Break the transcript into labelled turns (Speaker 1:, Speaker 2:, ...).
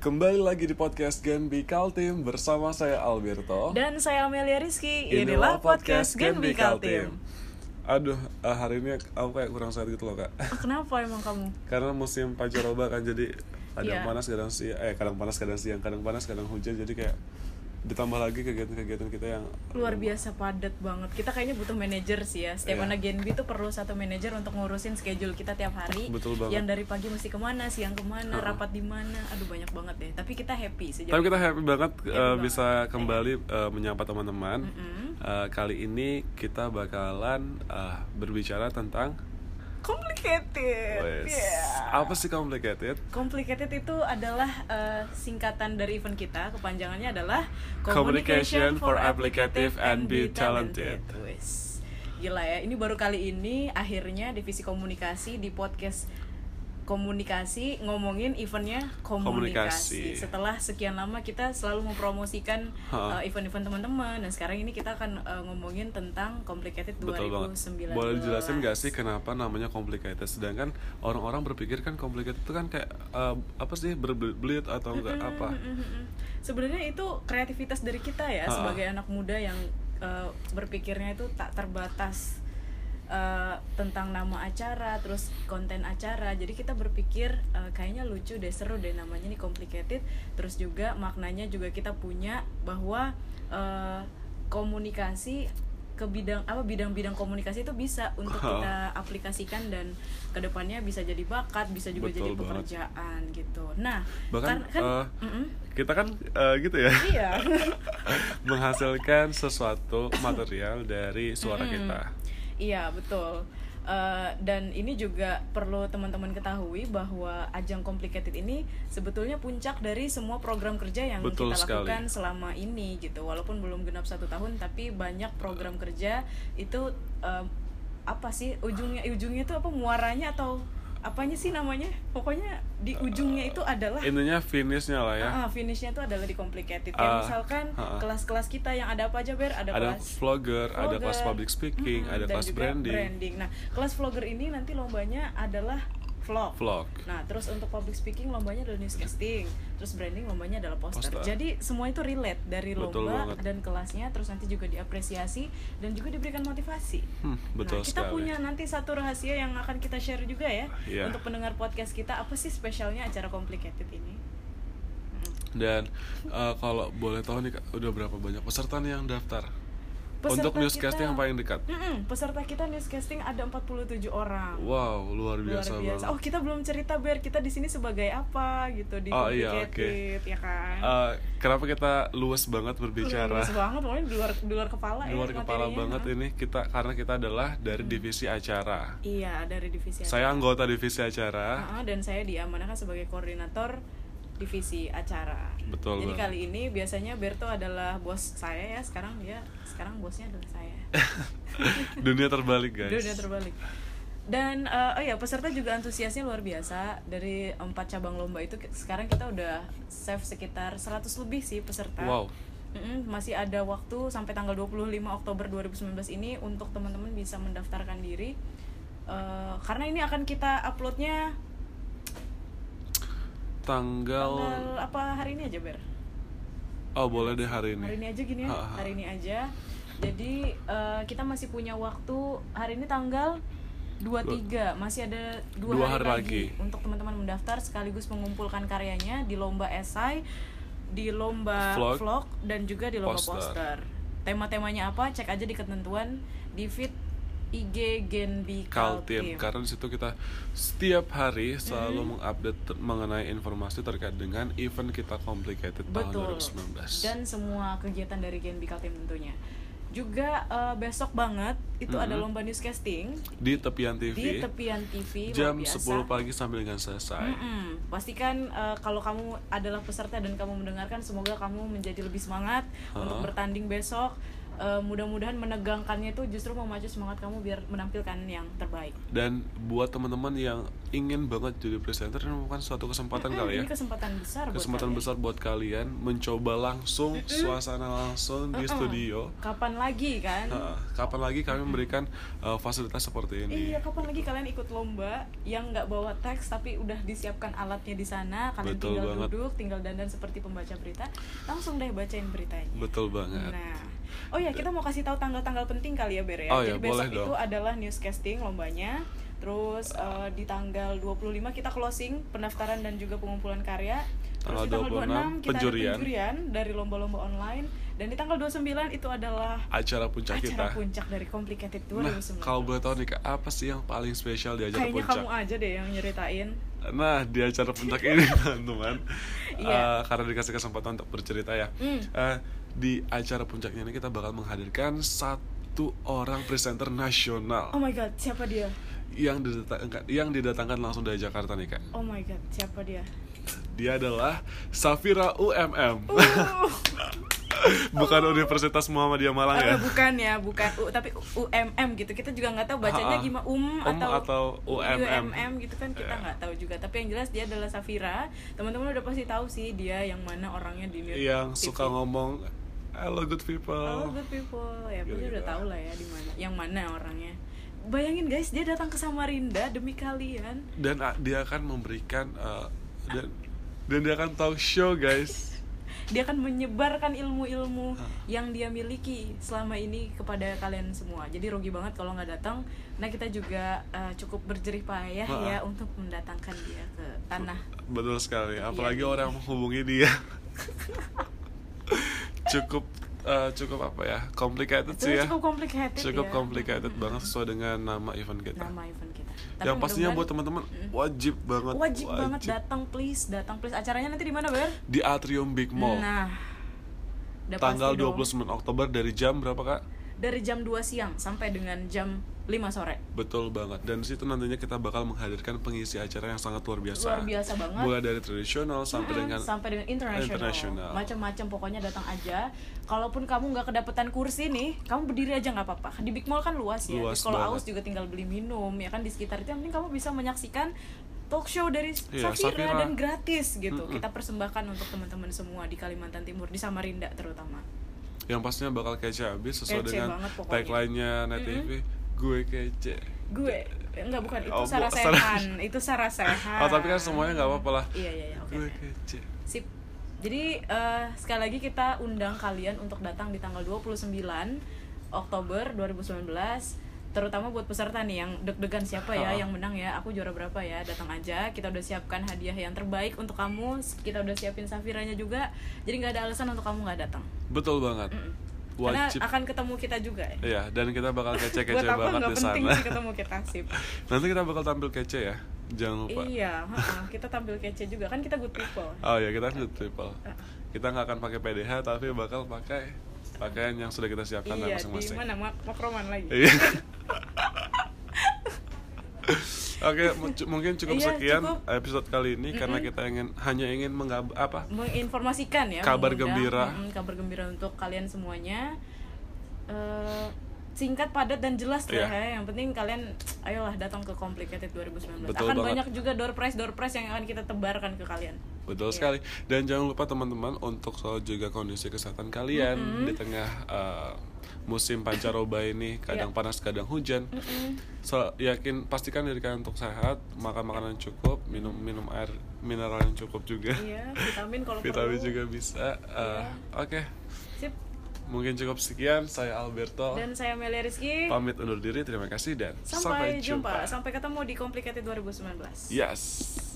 Speaker 1: Kembali lagi di podcast Genbi Kaltim bersama saya Alberto.
Speaker 2: Dan saya Amelia Rizky. Inilah, podcast Genbi Kaltim.
Speaker 1: Aduh, eh, hari ini aku kayak kurang sehat gitu loh kak.
Speaker 2: Ah, Kenapa emang kamu?
Speaker 1: Karena musim pancaroba kan jadi kadang
Speaker 2: Iya.
Speaker 1: panas kadang siang, eh kadang panas kadang siang, kadang panas kadang hujan jadi kayak ditambah lagi kegiatan-kegiatan kita yang
Speaker 2: Luar biasa padat banget. Kita kayaknya butuh manajer sih ya. Setiap
Speaker 1: Iya.
Speaker 2: anak Genbi tuh perlu satu manajer untuk ngurusin schedule kita tiap hari.
Speaker 1: Betul banget.
Speaker 2: Yang dari pagi mesti kemana, siang kemana, rapat di mana. Aduh banyak banget deh. Tapi kita happy sejak.
Speaker 1: Tapi kita happy banget eh,
Speaker 2: banget. Iya.
Speaker 1: bisa kembali eh, menyapa teman-teman. Eh, kali ini kita bakalan eh, berbicara tentang
Speaker 2: Complicated.
Speaker 1: wes,
Speaker 2: Yeah.
Speaker 1: apa sih complicated?
Speaker 2: Complicated itu adalah eh, singkatan dari event kita, kepanjangannya adalah
Speaker 1: Communication for Applicative and Be Talented.
Speaker 2: Wis. Gila ya, ini baru kali ini akhirnya divisi komunikasi di podcast komunikasi ngomongin eventnya
Speaker 1: Komunikasi.
Speaker 2: komunikasi. Setelah sekian lama kita selalu mempromosikan
Speaker 1: Ha.
Speaker 2: eh, event-event teman-teman dan sekarang ini kita akan eh, ngomongin tentang Complicated
Speaker 1: Betul banget.
Speaker 2: 2019.
Speaker 1: Boleh dijelasin nggak sih kenapa namanya complicated? Sedangkan orang-orang berpikir kan complicated itu kan kayak eh, apa sih berbelit atau enggak apa?
Speaker 2: Mm-mm. Kan- Mm-hmm. Sebenarnya itu kreativitas dari kita ya
Speaker 1: Ha-ha.
Speaker 2: sebagai anak muda yang eh, berpikirnya itu tak terbatas eh, tentang nama acara, terus konten acara. Jadi kita berpikir eh, kayaknya lucu deh, seru deh namanya nih complicated. Terus juga maknanya juga kita punya bahwa eh, komunikasi ke bidang apa bidang-bidang komunikasi itu bisa untuk kita aplikasikan dan kedepannya bisa jadi bakat, bisa juga
Speaker 1: Betul
Speaker 2: jadi
Speaker 1: banget.
Speaker 2: pekerjaan gitu. Nah,
Speaker 1: Bahkan
Speaker 2: kan, kan
Speaker 1: eh,
Speaker 2: Mm-mm.
Speaker 1: kita kan eh, gitu ya
Speaker 2: iya
Speaker 1: menghasilkan sesuatu material dari suara kita.
Speaker 2: iya betul Eh, dan ini juga perlu teman-teman ketahui bahwa ajang complicated ini sebetulnya puncak dari semua program kerja yang
Speaker 1: Betul
Speaker 2: kita
Speaker 1: sekali.
Speaker 2: lakukan selama ini gitu walaupun belum genap satu tahun tapi banyak program kerja itu eh, apa sih ujungnya ujungnya itu apa muaranya atau apanya sih namanya pokoknya di ujungnya itu adalah
Speaker 1: Intinya finishnya lah Eh, ya.
Speaker 2: Ah, finishnya itu adalah di complicated. Kayak
Speaker 1: Ah,
Speaker 2: misalkan
Speaker 1: ah, ah.
Speaker 2: kelas-kelas kita yang ada apa aja ber Ah, ada,
Speaker 1: ada
Speaker 2: kelas
Speaker 1: vlogger, ada kelas
Speaker 2: vlogger,
Speaker 1: public speaking,
Speaker 2: mm-mm,
Speaker 1: ada
Speaker 2: dan
Speaker 1: kelas
Speaker 2: juga
Speaker 1: branding,
Speaker 2: Nah, kelas vlogger ini nanti lombanya adalah vlog.
Speaker 1: vlog.
Speaker 2: Nah, terus untuk public speaking lombanya adalah newscasting, terus branding lombanya adalah poster.
Speaker 1: Poster.
Speaker 2: Jadi semua itu relate dari
Speaker 1: Betul
Speaker 2: lomba
Speaker 1: banget.
Speaker 2: dan kelasnya, terus nanti juga diapresiasi dan juga diberikan motivasi.
Speaker 1: Hmm, betul
Speaker 2: nah, kita
Speaker 1: sekali.
Speaker 2: punya nanti satu rahasia yang akan kita share juga ya
Speaker 1: Iya.
Speaker 2: untuk pendengar podcast kita. Apa sih spesialnya acara complicated ini? Mm.
Speaker 1: Dan eh, kalau boleh tahu nih Kak, udah berapa banyak peserta nih yang daftar?
Speaker 2: Peserta
Speaker 1: Untuk newscasting
Speaker 2: kita-
Speaker 1: yang paling dekat.
Speaker 2: Mm-mm, peserta kita newscasting ada 47 orang.
Speaker 1: Wow, luar
Speaker 2: Luar
Speaker 1: biasa, banget.
Speaker 2: biasa. Oh, kita belum cerita biar kita di sini sebagai apa gitu di
Speaker 1: Oh, iya,
Speaker 2: Complicated, ya kan.
Speaker 1: Eh, kenapa kita luas banget berbicara?
Speaker 2: Luas banget pokoknya di luar di luar kepala ya
Speaker 1: Luar kepala
Speaker 2: materinya.
Speaker 1: banget ini kita karena kita adalah dari divisi acara.
Speaker 2: Iya, dari divisi acara.
Speaker 1: Saya anggota divisi acara.
Speaker 2: Ah, dan saya diamanahkan sebagai koordinator divisi acara.
Speaker 1: Betul
Speaker 2: Jadi
Speaker 1: banget.
Speaker 2: kali ini biasanya Berto adalah bos saya ya, sekarang dia sekarang bosnya adalah saya.
Speaker 1: Dunia terbalik, guys.
Speaker 2: Dunia terbalik. Dan eh, oh ya peserta juga antusiasnya luar biasa dari empat cabang lomba itu ki- sekarang kita udah save sekitar 100 lebih sih peserta.
Speaker 1: Wow.
Speaker 2: Mm-mm, masih ada waktu sampai tanggal 25 Oktober 2019 ini untuk teman-teman bisa mendaftarkan diri. Eh, karena ini akan kita uploadnya
Speaker 1: Tanggal
Speaker 2: tanggal apa hari ini aja Ber?
Speaker 1: Oh, boleh deh hari ini.
Speaker 2: Hari ini aja gini ya,
Speaker 1: Ha, ha.
Speaker 2: hari ini aja. Jadi eh, kita masih punya waktu hari ini tanggal 23, masih ada dua,
Speaker 1: Dua
Speaker 2: hari,
Speaker 1: hari
Speaker 2: lagi,
Speaker 1: lagi.
Speaker 2: untuk teman-teman mendaftar sekaligus mengumpulkan karyanya di lomba esai, di lomba
Speaker 1: Vlog.
Speaker 2: vlog, dan juga di lomba
Speaker 1: Poster.
Speaker 2: poster. Tema-temanya apa? Cek aja di ketentuan di feed IG Genbi
Speaker 1: Kaltim
Speaker 2: Kaltim.
Speaker 1: karena di situ kita setiap hari selalu
Speaker 2: Mm-hmm.
Speaker 1: mengupdate ter- mengenai informasi terkait dengan event kita complicated
Speaker 2: Betul.
Speaker 1: tahun 2019.
Speaker 2: Dan semua kegiatan dari Genbi Kaltim tentunya. Juga eh, besok banget itu ada lomba newscasting
Speaker 1: di tepian TV,
Speaker 2: di tepian TV luar
Speaker 1: jam
Speaker 2: biasa. Mm-hmm.
Speaker 1: 10 pagi sampai dengan selesai.
Speaker 2: Mm-mm. Pastikan eh, kalau kamu adalah peserta dan kamu mendengarkan semoga kamu menjadi lebih semangat untuk bertanding besok. Eh, eh, mudah-mudahan menegangkannya itu justru memacu semangat kamu biar menampilkan yang terbaik
Speaker 1: dan buat teman-teman yang ingin banget jadi presenter ini merupakan suatu kesempatan
Speaker 2: Mm-mm,
Speaker 1: kali ya
Speaker 2: Mm-hmm, ini kesempatan besar buat
Speaker 1: kesempatan
Speaker 2: kalian. Mm-hmm.
Speaker 1: besar buat kalian mencoba langsung suasana langsung di
Speaker 2: Mm-mm.
Speaker 1: studio
Speaker 2: kapan lagi kan
Speaker 1: Nah, kapan lagi kami memberikan uh, fasilitas seperti ini
Speaker 2: Mm-hmm. Iya, kapan lagi kalian ikut lomba yang nggak bawa teks tapi udah disiapkan alatnya di sana, kalian
Speaker 1: Betul
Speaker 2: tinggal
Speaker 1: banget.
Speaker 2: duduk, tinggal dandan seperti pembaca berita, langsung deh bacain beritanya.
Speaker 1: betul banget
Speaker 2: Nah, oh ya kita mau kasih tahu tanggal-tanggal penting kali ya Bere ya.
Speaker 1: Oh ya,
Speaker 2: Jadi
Speaker 1: boleh
Speaker 2: besok
Speaker 1: dong.
Speaker 2: itu adalah newscasting lombanya. Terus eh, di tanggal 25 kita closing pendaftaran dan juga pengumpulan karya.
Speaker 1: Tanggal
Speaker 2: Terus di tanggal
Speaker 1: 26
Speaker 2: 26 kita
Speaker 1: penjurian.
Speaker 2: ada penjurian dari lomba-lomba online dan di tanggal 29 itu adalah
Speaker 1: acara puncak kita
Speaker 2: Nah. acara puncak dari Complicated 2019.
Speaker 1: nah kalau boleh tahu nih Kak, apa sih yang paling spesial di acara
Speaker 2: Kayaknya
Speaker 1: puncak
Speaker 2: kamu aja deh yang nyeritain.
Speaker 1: Nah, di acara puncak ini teman-teman,
Speaker 2: Iya.
Speaker 1: eh, karena dikasih kesempatan untuk bercerita ya.
Speaker 2: Mm.
Speaker 1: Eh, di acara puncaknya ini kita bakal menghadirkan satu orang presenter nasional
Speaker 2: Oh my god, siapa dia?
Speaker 1: yang didatangkan yang didatangkan langsung dari Jakarta nih kak.
Speaker 2: Oh my god, siapa dia?
Speaker 1: Dia adalah Safira UMM,
Speaker 2: Uh,
Speaker 1: bukan Universitas Muhammadiyah Malang ya.
Speaker 2: eh, bukan ya, bukan U, tapi UMM gitu. Kita juga nggak tahu bacanya
Speaker 1: Ha-ha.
Speaker 2: gimana UM,
Speaker 1: Um atau UMM.
Speaker 2: gitu kan kita
Speaker 1: Iya.
Speaker 2: nggak tahu juga. Tapi yang jelas dia adalah Safira. Teman-teman udah pasti tahu sih dia yang mana orangnya di Mir-
Speaker 1: Iya, Yang
Speaker 2: TV.
Speaker 1: suka ngomong Hello good people.
Speaker 2: ya? Oh, good people. Ya, pasti
Speaker 1: Gitu-gitu.
Speaker 2: udah tahu lah ya di mana, yang mana orangnya. Bayangin guys, dia datang ke Samarinda demi kalian.
Speaker 1: Dan ah, dia akan memberikan eh, dan dan dia akan talk show guys.
Speaker 2: dia akan menyebarkan ilmu-ilmu
Speaker 1: Ah.
Speaker 2: yang dia miliki selama ini kepada kalian semua. Jadi rugi banget kalau nggak datang. Nah kita juga eh, cukup berjerih payah
Speaker 1: Ah.
Speaker 2: ya untuk mendatangkan dia ke tanah.
Speaker 1: Betul sekali, apalagi
Speaker 2: Iya.
Speaker 1: orang yang menghubungi dia cukup eh, cukup apa ya complicated sih
Speaker 2: Itu
Speaker 1: ya,
Speaker 2: cukup complicated.
Speaker 1: cukup
Speaker 2: ya.
Speaker 1: complicated
Speaker 2: Mm-mm.
Speaker 1: banget sesuai dengan nama event kita.
Speaker 2: Nama event kita. Tapi
Speaker 1: yang pastinya
Speaker 2: mudah-mudahan-
Speaker 1: buat teman-teman
Speaker 2: Mm.
Speaker 1: wajib banget,
Speaker 2: wajib banget datang please, datang please. Acaranya nanti di mana ber?
Speaker 1: di Atrium Big Mall
Speaker 2: Nah, udah
Speaker 1: Oh. tanggal
Speaker 2: pasti dong.
Speaker 1: 29 Oktober dari jam berapa kak?
Speaker 2: dari jam 2 siang sampai dengan jam 5 sore.
Speaker 1: Betul banget. Dan situ nantinya kita bakal menghadirkan pengisi acara yang sangat luar biasa.
Speaker 2: Luar biasa banget.
Speaker 1: Mulai dari tradisional sampai
Speaker 2: Mm-mm,
Speaker 1: dengan
Speaker 2: sampai dengan internasional,
Speaker 1: internasional.
Speaker 2: macam-macam pokoknya datang aja kalaupun kamu nggak kedapetan kursi nih kamu berdiri aja nggak apa-apa di big mall kan luas ya
Speaker 1: Luas
Speaker 2: Terus kalau
Speaker 1: banget.
Speaker 2: aus juga tinggal beli minum ya kan di sekitar itu yang penting kamu bisa menyaksikan talk show dari
Speaker 1: Iya,
Speaker 2: Safira,
Speaker 1: Safira.
Speaker 2: dan gratis gitu
Speaker 1: Mm-mm.
Speaker 2: kita persembahkan untuk teman-teman semua di Kalimantan Timur di Samarinda terutama
Speaker 1: yang pastinya bakal kece abis sesuai
Speaker 2: Kece
Speaker 1: dengan
Speaker 2: banget pokoknya.
Speaker 1: tagline-nya Net TV gue kece
Speaker 2: gue enggak bukan itu
Speaker 1: Oh, bu-
Speaker 2: Sarah Sarasehan itu Sarah Sarasehan
Speaker 1: oh tapi kan semuanya nggak apa-apa lah
Speaker 2: iya iya iya Ah. oke
Speaker 1: gue kece
Speaker 2: Sip. Jadi eh, sekali lagi kita undang kalian untuk datang di tanggal 29 Oktober 2019 terutama buat peserta nih yang deg-degan siapa
Speaker 1: Ha.
Speaker 2: ya yang menang ya aku juara berapa ya datang aja kita udah siapkan hadiah yang terbaik untuk kamu kita udah siapin safiranya juga jadi nggak ada alasan untuk kamu nggak datang
Speaker 1: betul banget
Speaker 2: Mm-mm. karena
Speaker 1: wajib
Speaker 2: akan ketemu kita juga ya
Speaker 1: Iya, dan kita bakal
Speaker 2: buat
Speaker 1: kece-kece
Speaker 2: apa
Speaker 1: banget
Speaker 2: nggak
Speaker 1: di
Speaker 2: penting
Speaker 1: sana
Speaker 2: sih ketemu kita sip
Speaker 1: nanti kita bakal tampil kece ya jangan lupa
Speaker 2: iya ha-ha. kita tampil kece juga kan kita good people
Speaker 1: oh ya kita good people kita nggak akan pakai PDH tapi bakal pakai pakaian yang sudah kita siapkan lah
Speaker 2: iya di
Speaker 1: masing-masing
Speaker 2: mana Mak- makroman lagi
Speaker 1: Iya. Oke, mu- cu- mungkin cukup
Speaker 2: Iya,
Speaker 1: sekian
Speaker 2: cukup.
Speaker 1: episode kali ini karena kita ingin hanya ingin mengab apa?
Speaker 2: menginformasikan ya
Speaker 1: Kabar
Speaker 2: mengundang,
Speaker 1: gembira.
Speaker 2: mm, kabar gembira untuk kalian semuanya Eh, singkat padat dan jelas
Speaker 1: Iya.
Speaker 2: lah ya yang penting kalian ayolah datang ke complicated 2019
Speaker 1: Betul
Speaker 2: akan
Speaker 1: banget.
Speaker 2: banyak juga door prize door prize yang akan kita tebarkan ke kalian Iya.
Speaker 1: Betul sekali. Dan jangan lupa teman-teman untuk selalu jaga kondisi kesehatan kalian di tengah eh, musim pancaroba ini,
Speaker 2: Iya.
Speaker 1: kadang panas, kadang hujan. So, yakin pastikan diri kalian untuk sehat, makan makanan cukup, minum minum air mineral yang cukup juga.
Speaker 2: iya vitamin kalau
Speaker 1: Vitamin
Speaker 2: perlu Iya.
Speaker 1: juga bisa. Eh, Oke.
Speaker 2: Sip.
Speaker 1: Mungkin cukup sekian. Saya Alberto.
Speaker 2: dan saya Melia Rizky
Speaker 1: pamit undur diri terima kasih dan
Speaker 2: sampai, jumpa. sampai ketemu di complicated 2019
Speaker 1: yes